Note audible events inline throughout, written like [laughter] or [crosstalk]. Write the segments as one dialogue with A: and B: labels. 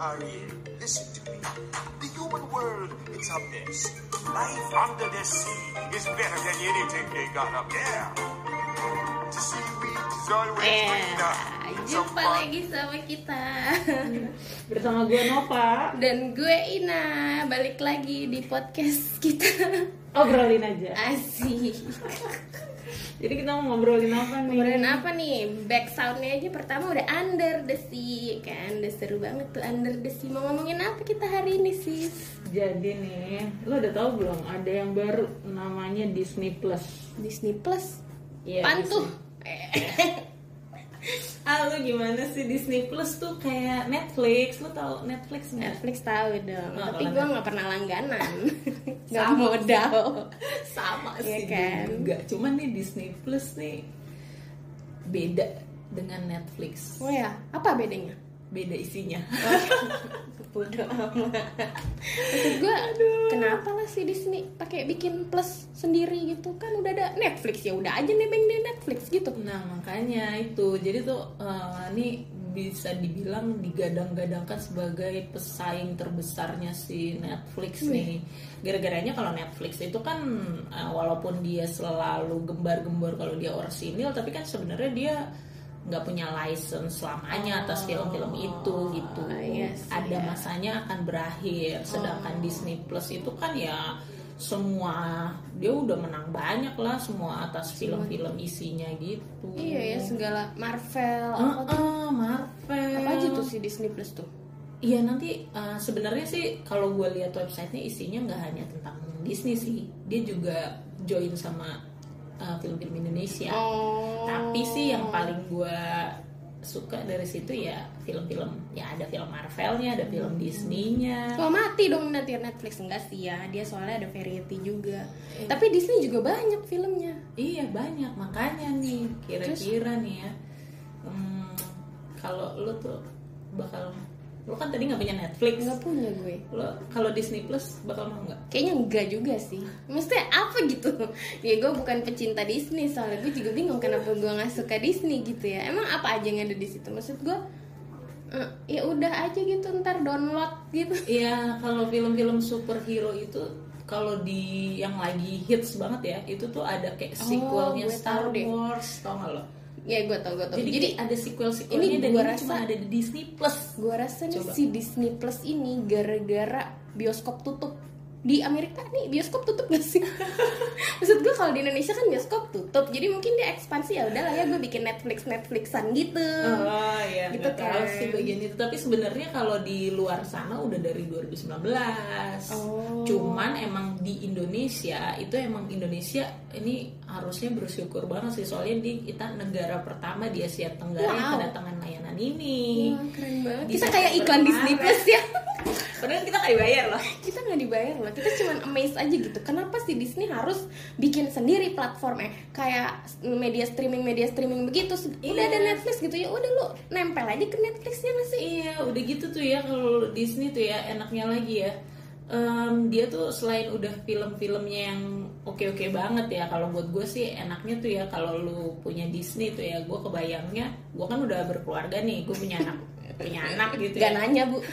A: Ariel, listen to me. The human world, it's a mess. Life under the sea is better than anything they got up there. The seaweed is always greener.
B: Yeah, Ya, jumpa lagi sama kita
C: bersama gue Nova
B: dan gue Ina balik lagi di podcast kita
C: obrolin aja
B: asik
C: jadi kita mau ngobrolin apa nih
B: kemarin apa nih back soundnya aja pertama udah under the sea kan udah seru banget tuh under the sea mau ngomongin apa kita hari ini sih
C: jadi nih lo udah tahu belum ada yang baru namanya Disney Plus
B: Disney Plus Eh,
C: Iya,
B: pantuh
C: Disney. ah lo gimana sih Disney Plus tuh kayak Netflix lo tau Netflix nggak
B: Netflix tahu dong
C: Oh,
B: tapi
C: kalau
B: gue nggak pernah langganan nggak
C: Sama.
B: modal
C: sama
B: Iya
C: sih
B: kan?
C: juga cuman nih Disney Plus nih beda dengan Netflix
B: oh ya apa bedanya
C: beda isinya
B: Bodoh amat. Maksud gue, kenapa lah si Disney pakai bikin plus sendiri gitu kan udah ada Netflix ya udah aja nebeng di Netflix gitu.
C: Nah makanya itu jadi tuh eh, ini bisa dibilang digadang-gadangkan sebagai pesaing terbesarnya si Netflix nih. Gara-garanya kalau Netflix itu kan eh, walaupun dia selalu gembar-gembor kalau dia orsinil, tapi kan sebenarnya dia nggak punya license selamanya atas film-film itu gitu.
B: iya sih,
C: Ada
B: iya. Oh.
C: masanya akan berakhir. Sedangkan Disney Plus itu kan ya semua dia udah menang banyak lah semua atas film-film isinya gitu.
B: Iya ya segala Marvel
C: Heeh,
B: apa, tuh.
C: Marvel.
B: Apa aja tuh si Disney Plus tuh.
C: Iya nanti eh, sebenarnya sih kalau gue lihat websitenya isinya nggak hanya tentang Disney sih, dia juga join sama eh, film-film Indonesia.
B: Oh.
C: Tapi sih yang paling gue suka dari situ ya film-film ya ada film Marvelnya, ada
B: Hmm.
C: film Disney-nya.
B: Kalau mati dong nanti Netflix enggak sih ya dia soalnya ada variety juga. Tapi Disney juga banyak filmnya.
C: Iya banyak makanya nih kira-kira nih ya hmm, kalau lu tuh bakal lu kan tadi nggak punya Netflix
B: Enggak punya gue.
C: lu kalau Disney Plus bakal mau nggak?
B: Kayaknya enggak juga sih Maksudnya apa gitu Ya gue bukan pecinta Disney Soalnya gue juga bingung kenapa gue gak suka Disney gitu ya Emang apa aja yang ada di situ Maksud gue eh, Ya udah aja gitu ntar download gitu
C: Iya kalau film-film superhero itu kalau di yang lagi hits banget ya itu tuh ada kayak
B: Oh,
C: sequelnya
B: gue
C: Star
B: tahu deh.
C: Wars tau nggak lo?
B: Ya gue tau gue tau
C: Jadi,
B: Jadi
C: ada sequel sequelnya
B: ini
C: dan
B: gua
C: ini
B: rasa-
C: cuma ada di Disney Plus.
B: gue rasa nih
C: Coba.
B: si Disney Plus ini gara-gara bioskop tutup di Amerika nih bioskop tutup gak sih? [laughs] Maksud gue kalau di Indonesia kan bioskop tutup, jadi mungkin dia ekspansi ya udahlah ya gue bikin Netflix Netflixan gitu.
C: Oh iya,
B: Gitu
C: gitu tahu
B: kan.
C: sih bagian itu. Tapi sebenarnya kalau di luar sana udah dari 2019.
B: Oh.
C: Cuman emang di Indonesia itu emang Indonesia ini harusnya bersyukur banget sih soalnya di kita negara pertama di Asia Tenggara yang
B: Wow.
C: kedatangan layanan ini.
B: Wah, Iya, keren banget.
C: Di
B: Kita
C: Desember
B: kayak iklan
C: kemarin.
B: Disney Plus ya.
C: Padahal kita kayak bayar loh.
B: [laughs] kita nggak dibayar loh. Kita cuman amazed aja gitu. Kenapa sih Disney harus bikin sendiri platformnya? Kayak media streaming media streaming begitu. Udah
C: Iya.
B: ada Netflix gitu ya. Udah lu nempel aja ke Netflixnya nggak sih?
C: Iya, udah gitu tuh ya kalau Disney tuh ya enaknya lagi ya. Em, dia tuh selain udah film-filmnya yang oke-oke banget ya kalau buat gue sih enaknya tuh ya kalau lu punya Disney tuh ya gue kebayangnya gue kan udah berkeluarga nih gue punya anak punya anak gitu
B: Gak
C: ya
B: nanya bu.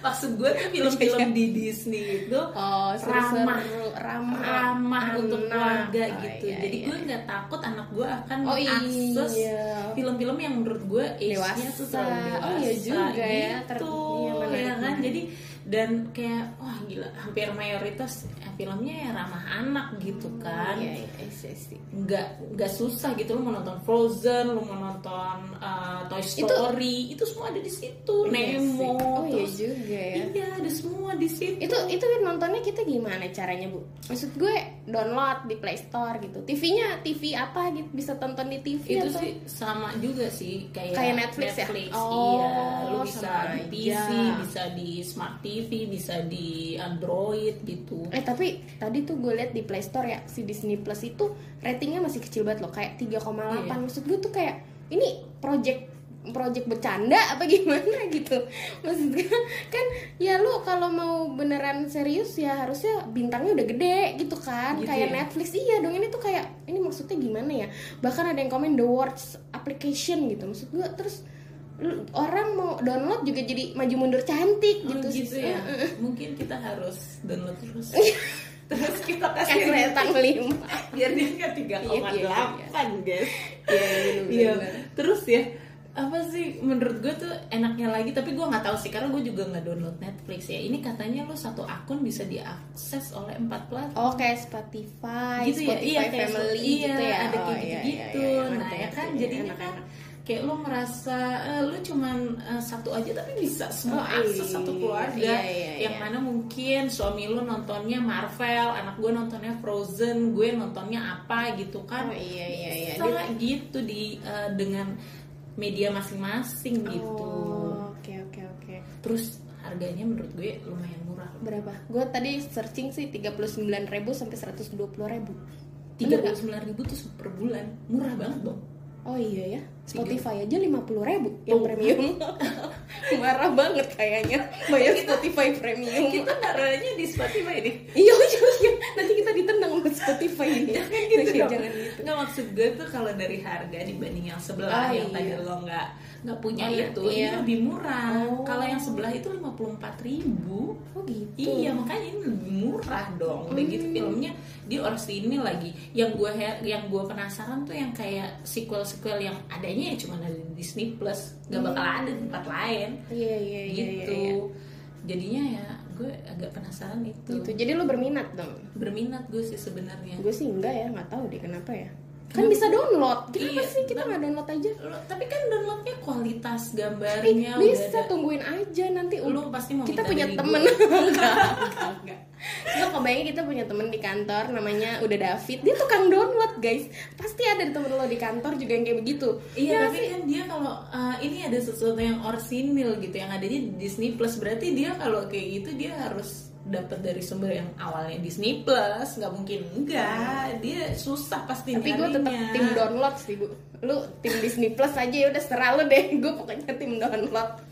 C: maksud gue tuh film-film di Disney itu
B: [laughs] Oh
C: ramah
B: seru-seru ramah
C: ramah untuk
B: anak.
C: keluarga
B: Oh,
C: gitu
B: iya,
C: jadi
B: iya.
C: gue nggak takut anak gue akan
B: Oh,
C: mengakses
B: iya.
C: film-film yang menurut gue age-nya
B: Dewasa.
C: tuh terlalu dewasa
B: Oh, iya juga ya. Ter-
C: gitu
B: iya,
C: ya,
B: menarik,
C: kan
B: menarik.
C: jadi dan kayak wah gila hampir mayoritas filmnya ya ramah anak gitu kan
B: Iya, iya, iya, iya.
C: nggak nggak susah gitu lo mau nonton Frozen lo mau nonton uh, Toy
B: Itu-
C: Story itu, semua ada di situ
B: Iya sih.
C: Nemo
B: Oh iya
C: terus-
B: juga ya.
C: iya ada semua di situ
B: itu itu kan nontonnya kita gimana caranya bu maksud gue download di Play Store gitu TV-nya TV apa gitu bisa tonton di TV
C: itu
B: atau
C: sih sama juga sih
B: Iya,
C: kayak,
B: Kayak Netflix ya? Oh,
C: iya lu bisa
B: sama
C: di PC
B: aja.
C: bisa di smart TV bisa di Android gitu
B: eh tapi tadi tuh gue liat di Play Store ya si Disney Plus itu ratingnya masih kecil banget loh kayak 3,8
C: Iya.
B: maksud gue tuh kayak ini project project bercanda apa gimana [laughs] gitu maksud gue kan ya lu kalau mau beneran serius ya harusnya bintangnya udah gede gitu kan
C: Gitu
B: kayak
C: ya?
B: Netflix iya dong ini tuh kayak ini maksudnya gimana ya bahkan ada yang komen the words application gitu maksud gue terus lu- orang mau download juga jadi maju mundur cantik
C: Oh,
B: gitu,
C: gitu ya
B: Heeh. Iya.
C: mungkin kita harus download terus [laughs] terus kita kasih
B: kasih
C: rating
B: rentang lima
C: biar dia nggak tiga koma delapan kan, guys
B: Iya,
C: iya
B: bener-bener.
C: terus ya apa sih menurut gue tuh enaknya lagi tapi gue nggak tahu sih karena gue juga nggak download Netflix ya ini katanya lu satu akun bisa diakses oleh empat platform
B: Oh kayak Spotify,
C: gitu ya
B: Spotify
C: iya kayak
B: Family
C: iya,
B: gitu ya.
C: ada
B: Oh,
C: kayak
B: iya,
C: gitu,
B: iya, iya, iya.
C: nah
B: Ngerti,
C: ya kan
B: ngerti.
C: jadinya kan
B: Enak-enak.
C: kayak lu merasa eh, lu cuman eh, satu aja tapi bisa semua
B: Oh,
C: akses
B: iya.
C: satu keluarga
B: Iya, iya,
C: yang
B: iya.
C: mana mungkin suami lu nontonnya Marvel anak gue nontonnya Frozen gue nontonnya apa gitu
B: Oh,
C: kan
B: iya, iya, iya.
C: Bisa
B: Dia-
C: gitu di eh, dengan media masing-masing gitu
B: Oh, Oke oke oke.
C: terus harganya menurut gue lumayan murah
B: Berapa? Gue tadi searching sih 39.000 sampai 120.000
C: tiga
B: Bener
C: puluh
B: nggak?
C: ribu tuh per bulan murah banget dong
B: Oh iya ya.
C: Tiga.
B: Spotify aja 50.000 yang
C: Tuh.
B: premium.
C: [laughs]
B: Marah banget kayaknya bayar Spotify premium.
C: kita naruhnya di Spotify nih
B: iya iya iya. Nanti kita ditendang sama Spotify ini. Oke,
C: gitu dong.
B: jangan gitu.
C: Nggak, maksud gue tuh kalau dari harga dibanding yang
B: Ah,
C: sebelah yang tadi
B: iya.
C: lo nggak nggak punya
B: Oh, iya.
C: itu
B: Iya.
C: ini lebih murah
B: Oh.
C: kalau yang sebelah itu 54.000 ribu
B: Oh gitu.
C: Iya makanya ini lebih murah dong.
B: Hmm.
C: Udah gitu filmnya di ini lagi. Yang gue yang gua penasaran tuh yang kayak sequel sequel yang adanya ya cuma ada di Disney Plus. Gak bakal ada di tempat lain.
B: Iya Hmm. iya iya
C: gitu.
B: iya.
C: Jadinya ya gue agak penasaran
B: iya.
C: itu.
B: Gitu. Jadi lo berminat dong.
C: Berminat gue sih sebenarnya.
B: Gue sih enggak ya, nggak tahu deh kenapa ya. Kan bisa download. Kenapa
C: Iya,
B: sih kita nggak download aja?
C: Lo- tapi kan downloadnya kualitas
B: Eh, bisa
C: gambarnya udah ada. gitu.
B: tungguin aja nanti
C: Lu
B: udah-
C: pasti mau
B: kita
C: minta
B: punya
C: dari
B: temen [laughs]
C: gua.
B: enggak enggak Enggak, kebayang kita punya temen di kantor namanya udah David dia tukang download guys pasti ada temen lo di kantor juga yang kayak begitu
C: Iya,
B: Ya,
C: tapi kan dia kalau uh, ini ada sesuatu yang orsinil gitu yang adanya di Disney Plus berarti dia kalau kayak gitu dia harus dapat dari sumber yang awalnya Disney Plus nggak mungkin enggak dia susah pasti
B: tapi gue tetap
C: nyarinya.
B: tim download sih bu lu tim Disney Plus aja ya udah serah lu deh [laughs] gue pokoknya tim download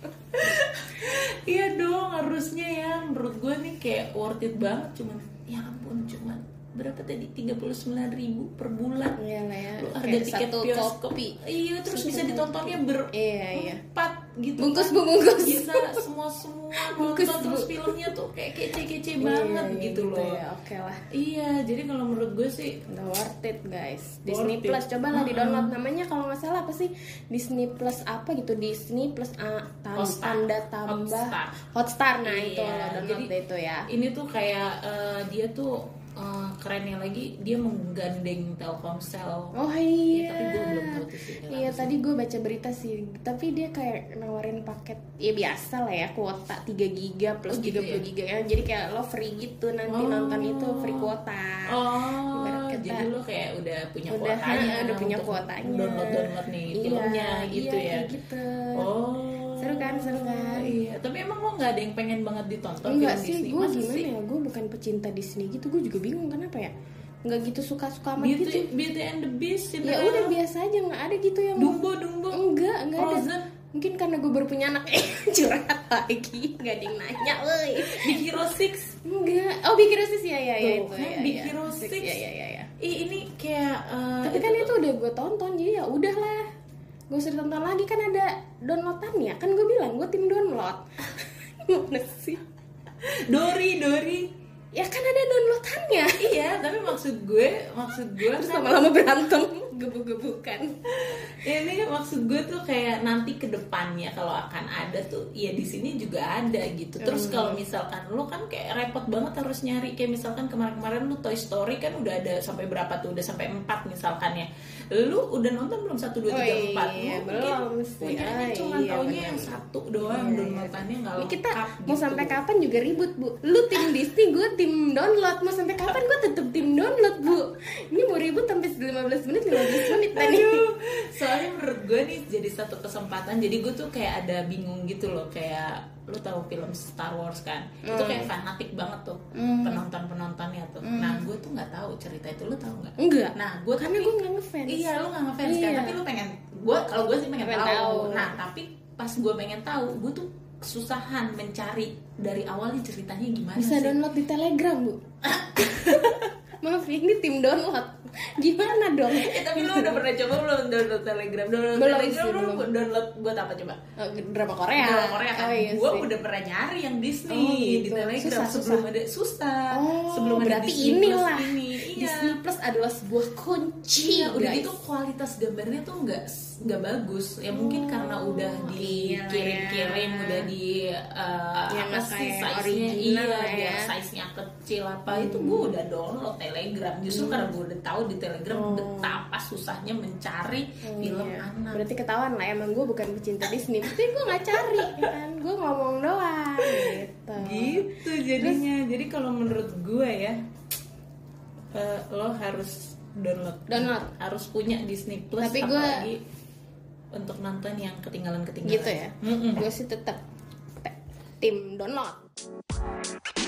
C: iya dong harusnya ya menurut gue nih kayak worth it banget cuman ya ampun cuman berapa tadi 39.000 per bulan
B: Iya lah ya
C: lu harga
B: kayak
C: tiket
B: satu
C: bioskop.
B: kopi
C: iya terus bisa ditontonnya ber
B: Iya, iya.
C: empat gitu
B: Bungkus, Bu, bungkus.
C: bisa semua
B: [laughs]
C: semua
B: Bungkus,
C: nonton terus
B: Bu.
C: filmnya tuh kayak kece kece banget
B: Iya,
C: gitu loh
B: ya, oke lah
C: iya jadi kalau menurut gue sih
B: Nggak worth it guys Disney
C: Worth it.
B: Plus cobalah di download namanya kalau nggak salah apa sih Disney Plus apa gitu Disney Plus ah, tam-
C: Hotstar.
B: tanda tambah
C: Hotstar.
B: Hotstar, nah itu lo
C: Iya,
B: download
C: jadi- Iya,
B: deh itu ya
C: ini tuh kayak eh, dia tuh eh, kerennya lagi dia menggandeng Telkomsel
B: Oh iya.
C: tapi gua belum tahu tuh sih,
B: Iya
C: kenapa
B: tadi gue baca berita sih, tapi dia kayak nawarin paket ya biasa lah ya kuota 3 giga plus
C: Oh, gitu
B: 30 giga ya. Jadi kayak lo free gitu nanti
C: Oh.
B: nonton itu free kuota.
C: Oh,
B: Ibarat kata-
C: jadi lo kayak udah punya
B: udah
C: kuotanya,
B: ha, [laughs] udah punya
C: untuk
B: kuotanya.
C: download-download nih
B: Iya,
C: filmnya
B: iya,
C: gitu ya.
B: kayak gitu.
C: Oh.
B: Seru kan, seru kan?
C: Iya, tapi emang lo nggak ada yang pengen banget ditonton
B: Enggak
C: film
B: sih,
C: Disney?
B: gue
C: Masa
B: gimana
C: sih?
B: ya? Gue bukan pecinta Disney gitu, gue juga bingung kenapa ya? Enggak gitu suka-suka amat
C: Beauty,
B: gitu.
C: Beauty and the
B: Ya
C: Beast, Cinderella,
B: udah biasa aja, nggak ada gitu yang
C: Dumbo, Dumbo.
B: enggak enggak ada
C: Frozen.
B: mungkin karena gue baru punya anak eh [laughs] curhat lagi nggak ada yang nanya
C: [laughs]
B: woi
C: Big Hero 6.
B: enggak oh Big Hero Six ya ya ya
C: Tuh,
B: itu
C: kan
B: ya,
C: Big
B: ya.
C: Hero
B: Six,
C: Six.
B: ya ya ya ya
C: Ih, ini kayak eh,
B: tapi kan itu udah gue tonton jadi ya udahlah gue usah ditonton lagi kan ada downloadannya kan gue bilang gue tim
C: [laughs]
B: download gimana sih
C: Dory, Dory.
B: ya kan ada downloadannya
C: Iya, tapi maksud gue, maksud gue
B: terus
C: kan-
B: lama-lama berantem gebuk-gebukan
C: ini maksud gue tuh kayak nanti ke depannya kalau akan ada tuh ya di sini juga ada gitu terus
B: Hmm.
C: kalau misalkan lo kan kayak repot banget harus nyari kayak misalkan kemarin-kemarin lu Toy Story kan udah ada sampai berapa tuh udah sampai 4 misalkan ya lu udah nonton belum satu dua
B: Oh
C: tiga empat
B: iya,
C: Mungkin
B: belum sih.
C: punyanya
B: Ah,
C: cuma
B: iya,
C: taunya
B: benar.
C: yang satu doang downloadannya nggak
B: Ini
C: lengkap
B: kita mau
C: gitu. Ah.
B: sampai kapan juga ribut bu lu tim Disney gue tim download mau sampai kapan gue tetep tim download bu ini mau ribut sampai 15 menit 15 menit tadi
C: Aduh, soalnya menurut gue nih jadi satu kesempatan jadi gue tuh kayak ada bingung gitu loh kayak lu tahu film Star Wars kan itu
B: Hmm.
C: kayak fanatik banget tuh penonton penontonnya tuh nah gue tuh nggak tahu cerita itu lu tahu nggak
B: enggak
C: nah gue
B: Hmm. Iya. karena gue nggak ngefans
C: iya lu nggak ngefans kan
B: Iya.
C: tapi lu pengen gue kalau gue sih pengen
B: Pengen
C: tahu.
B: tahu.
C: nah tapi pas gue pengen tahu gue tuh kesusahan mencari dari awalnya ceritanya gimana
B: bisa
C: sih
B: download di Telegram bu [laughs] maaf ya, ini tim download gimana dong
C: Eh, tapi lu udah pernah coba belum download Telegram? Download
B: Belum
C: Telegram
B: sih,
C: lu
B: belum.
C: download buat apa coba?
B: Eh, drama Korea
C: Drama Korea kan.
B: oh, iya
C: gua
B: sih.
C: udah pernah nyari yang Disney
B: Oh, gitu.
C: di Telegram
B: Susah,
C: sebelum
B: susah.
C: ada susah.
B: Oh,
C: sebelum ada
B: berarti
C: Disney
B: inilah
C: Plus ini. Iya.
B: Disney Plus adalah sebuah kunci
C: Iya, udah
B: guys. Oh,
C: gitu kualitas gambarnya tuh nggak nggak bagus. Ya mungkin karena udah
B: Oh, iya
C: dikirim-kirim,
B: lah ya.
C: udah di uh,
B: Ya,
C: apa
B: kayak
C: sih size-nya
B: original
C: iya,
B: lah ya. Hmm.
C: biar size-nya kecil apa itu gue udah download Telegram. Justru karena gue udah tahu di Telegram betapa susahnya mencari film
B: Oh. Iya.
C: anak.
B: Berarti ketahuan lah emang gue bukan pecinta Disney. Berarti gue nggak cari, ya kan? Gue ngomong doang. Gitu.
C: gitu jadinya jadi kalau menurut gue ya eh, lo harus download
B: Download.
C: harus punya Disney Plus
B: Tapi gua-
C: apalagi untuk nonton yang
B: ya?
C: ketinggalan ketinggalan
B: Gitu ya. Gue sih tetap te- tim download.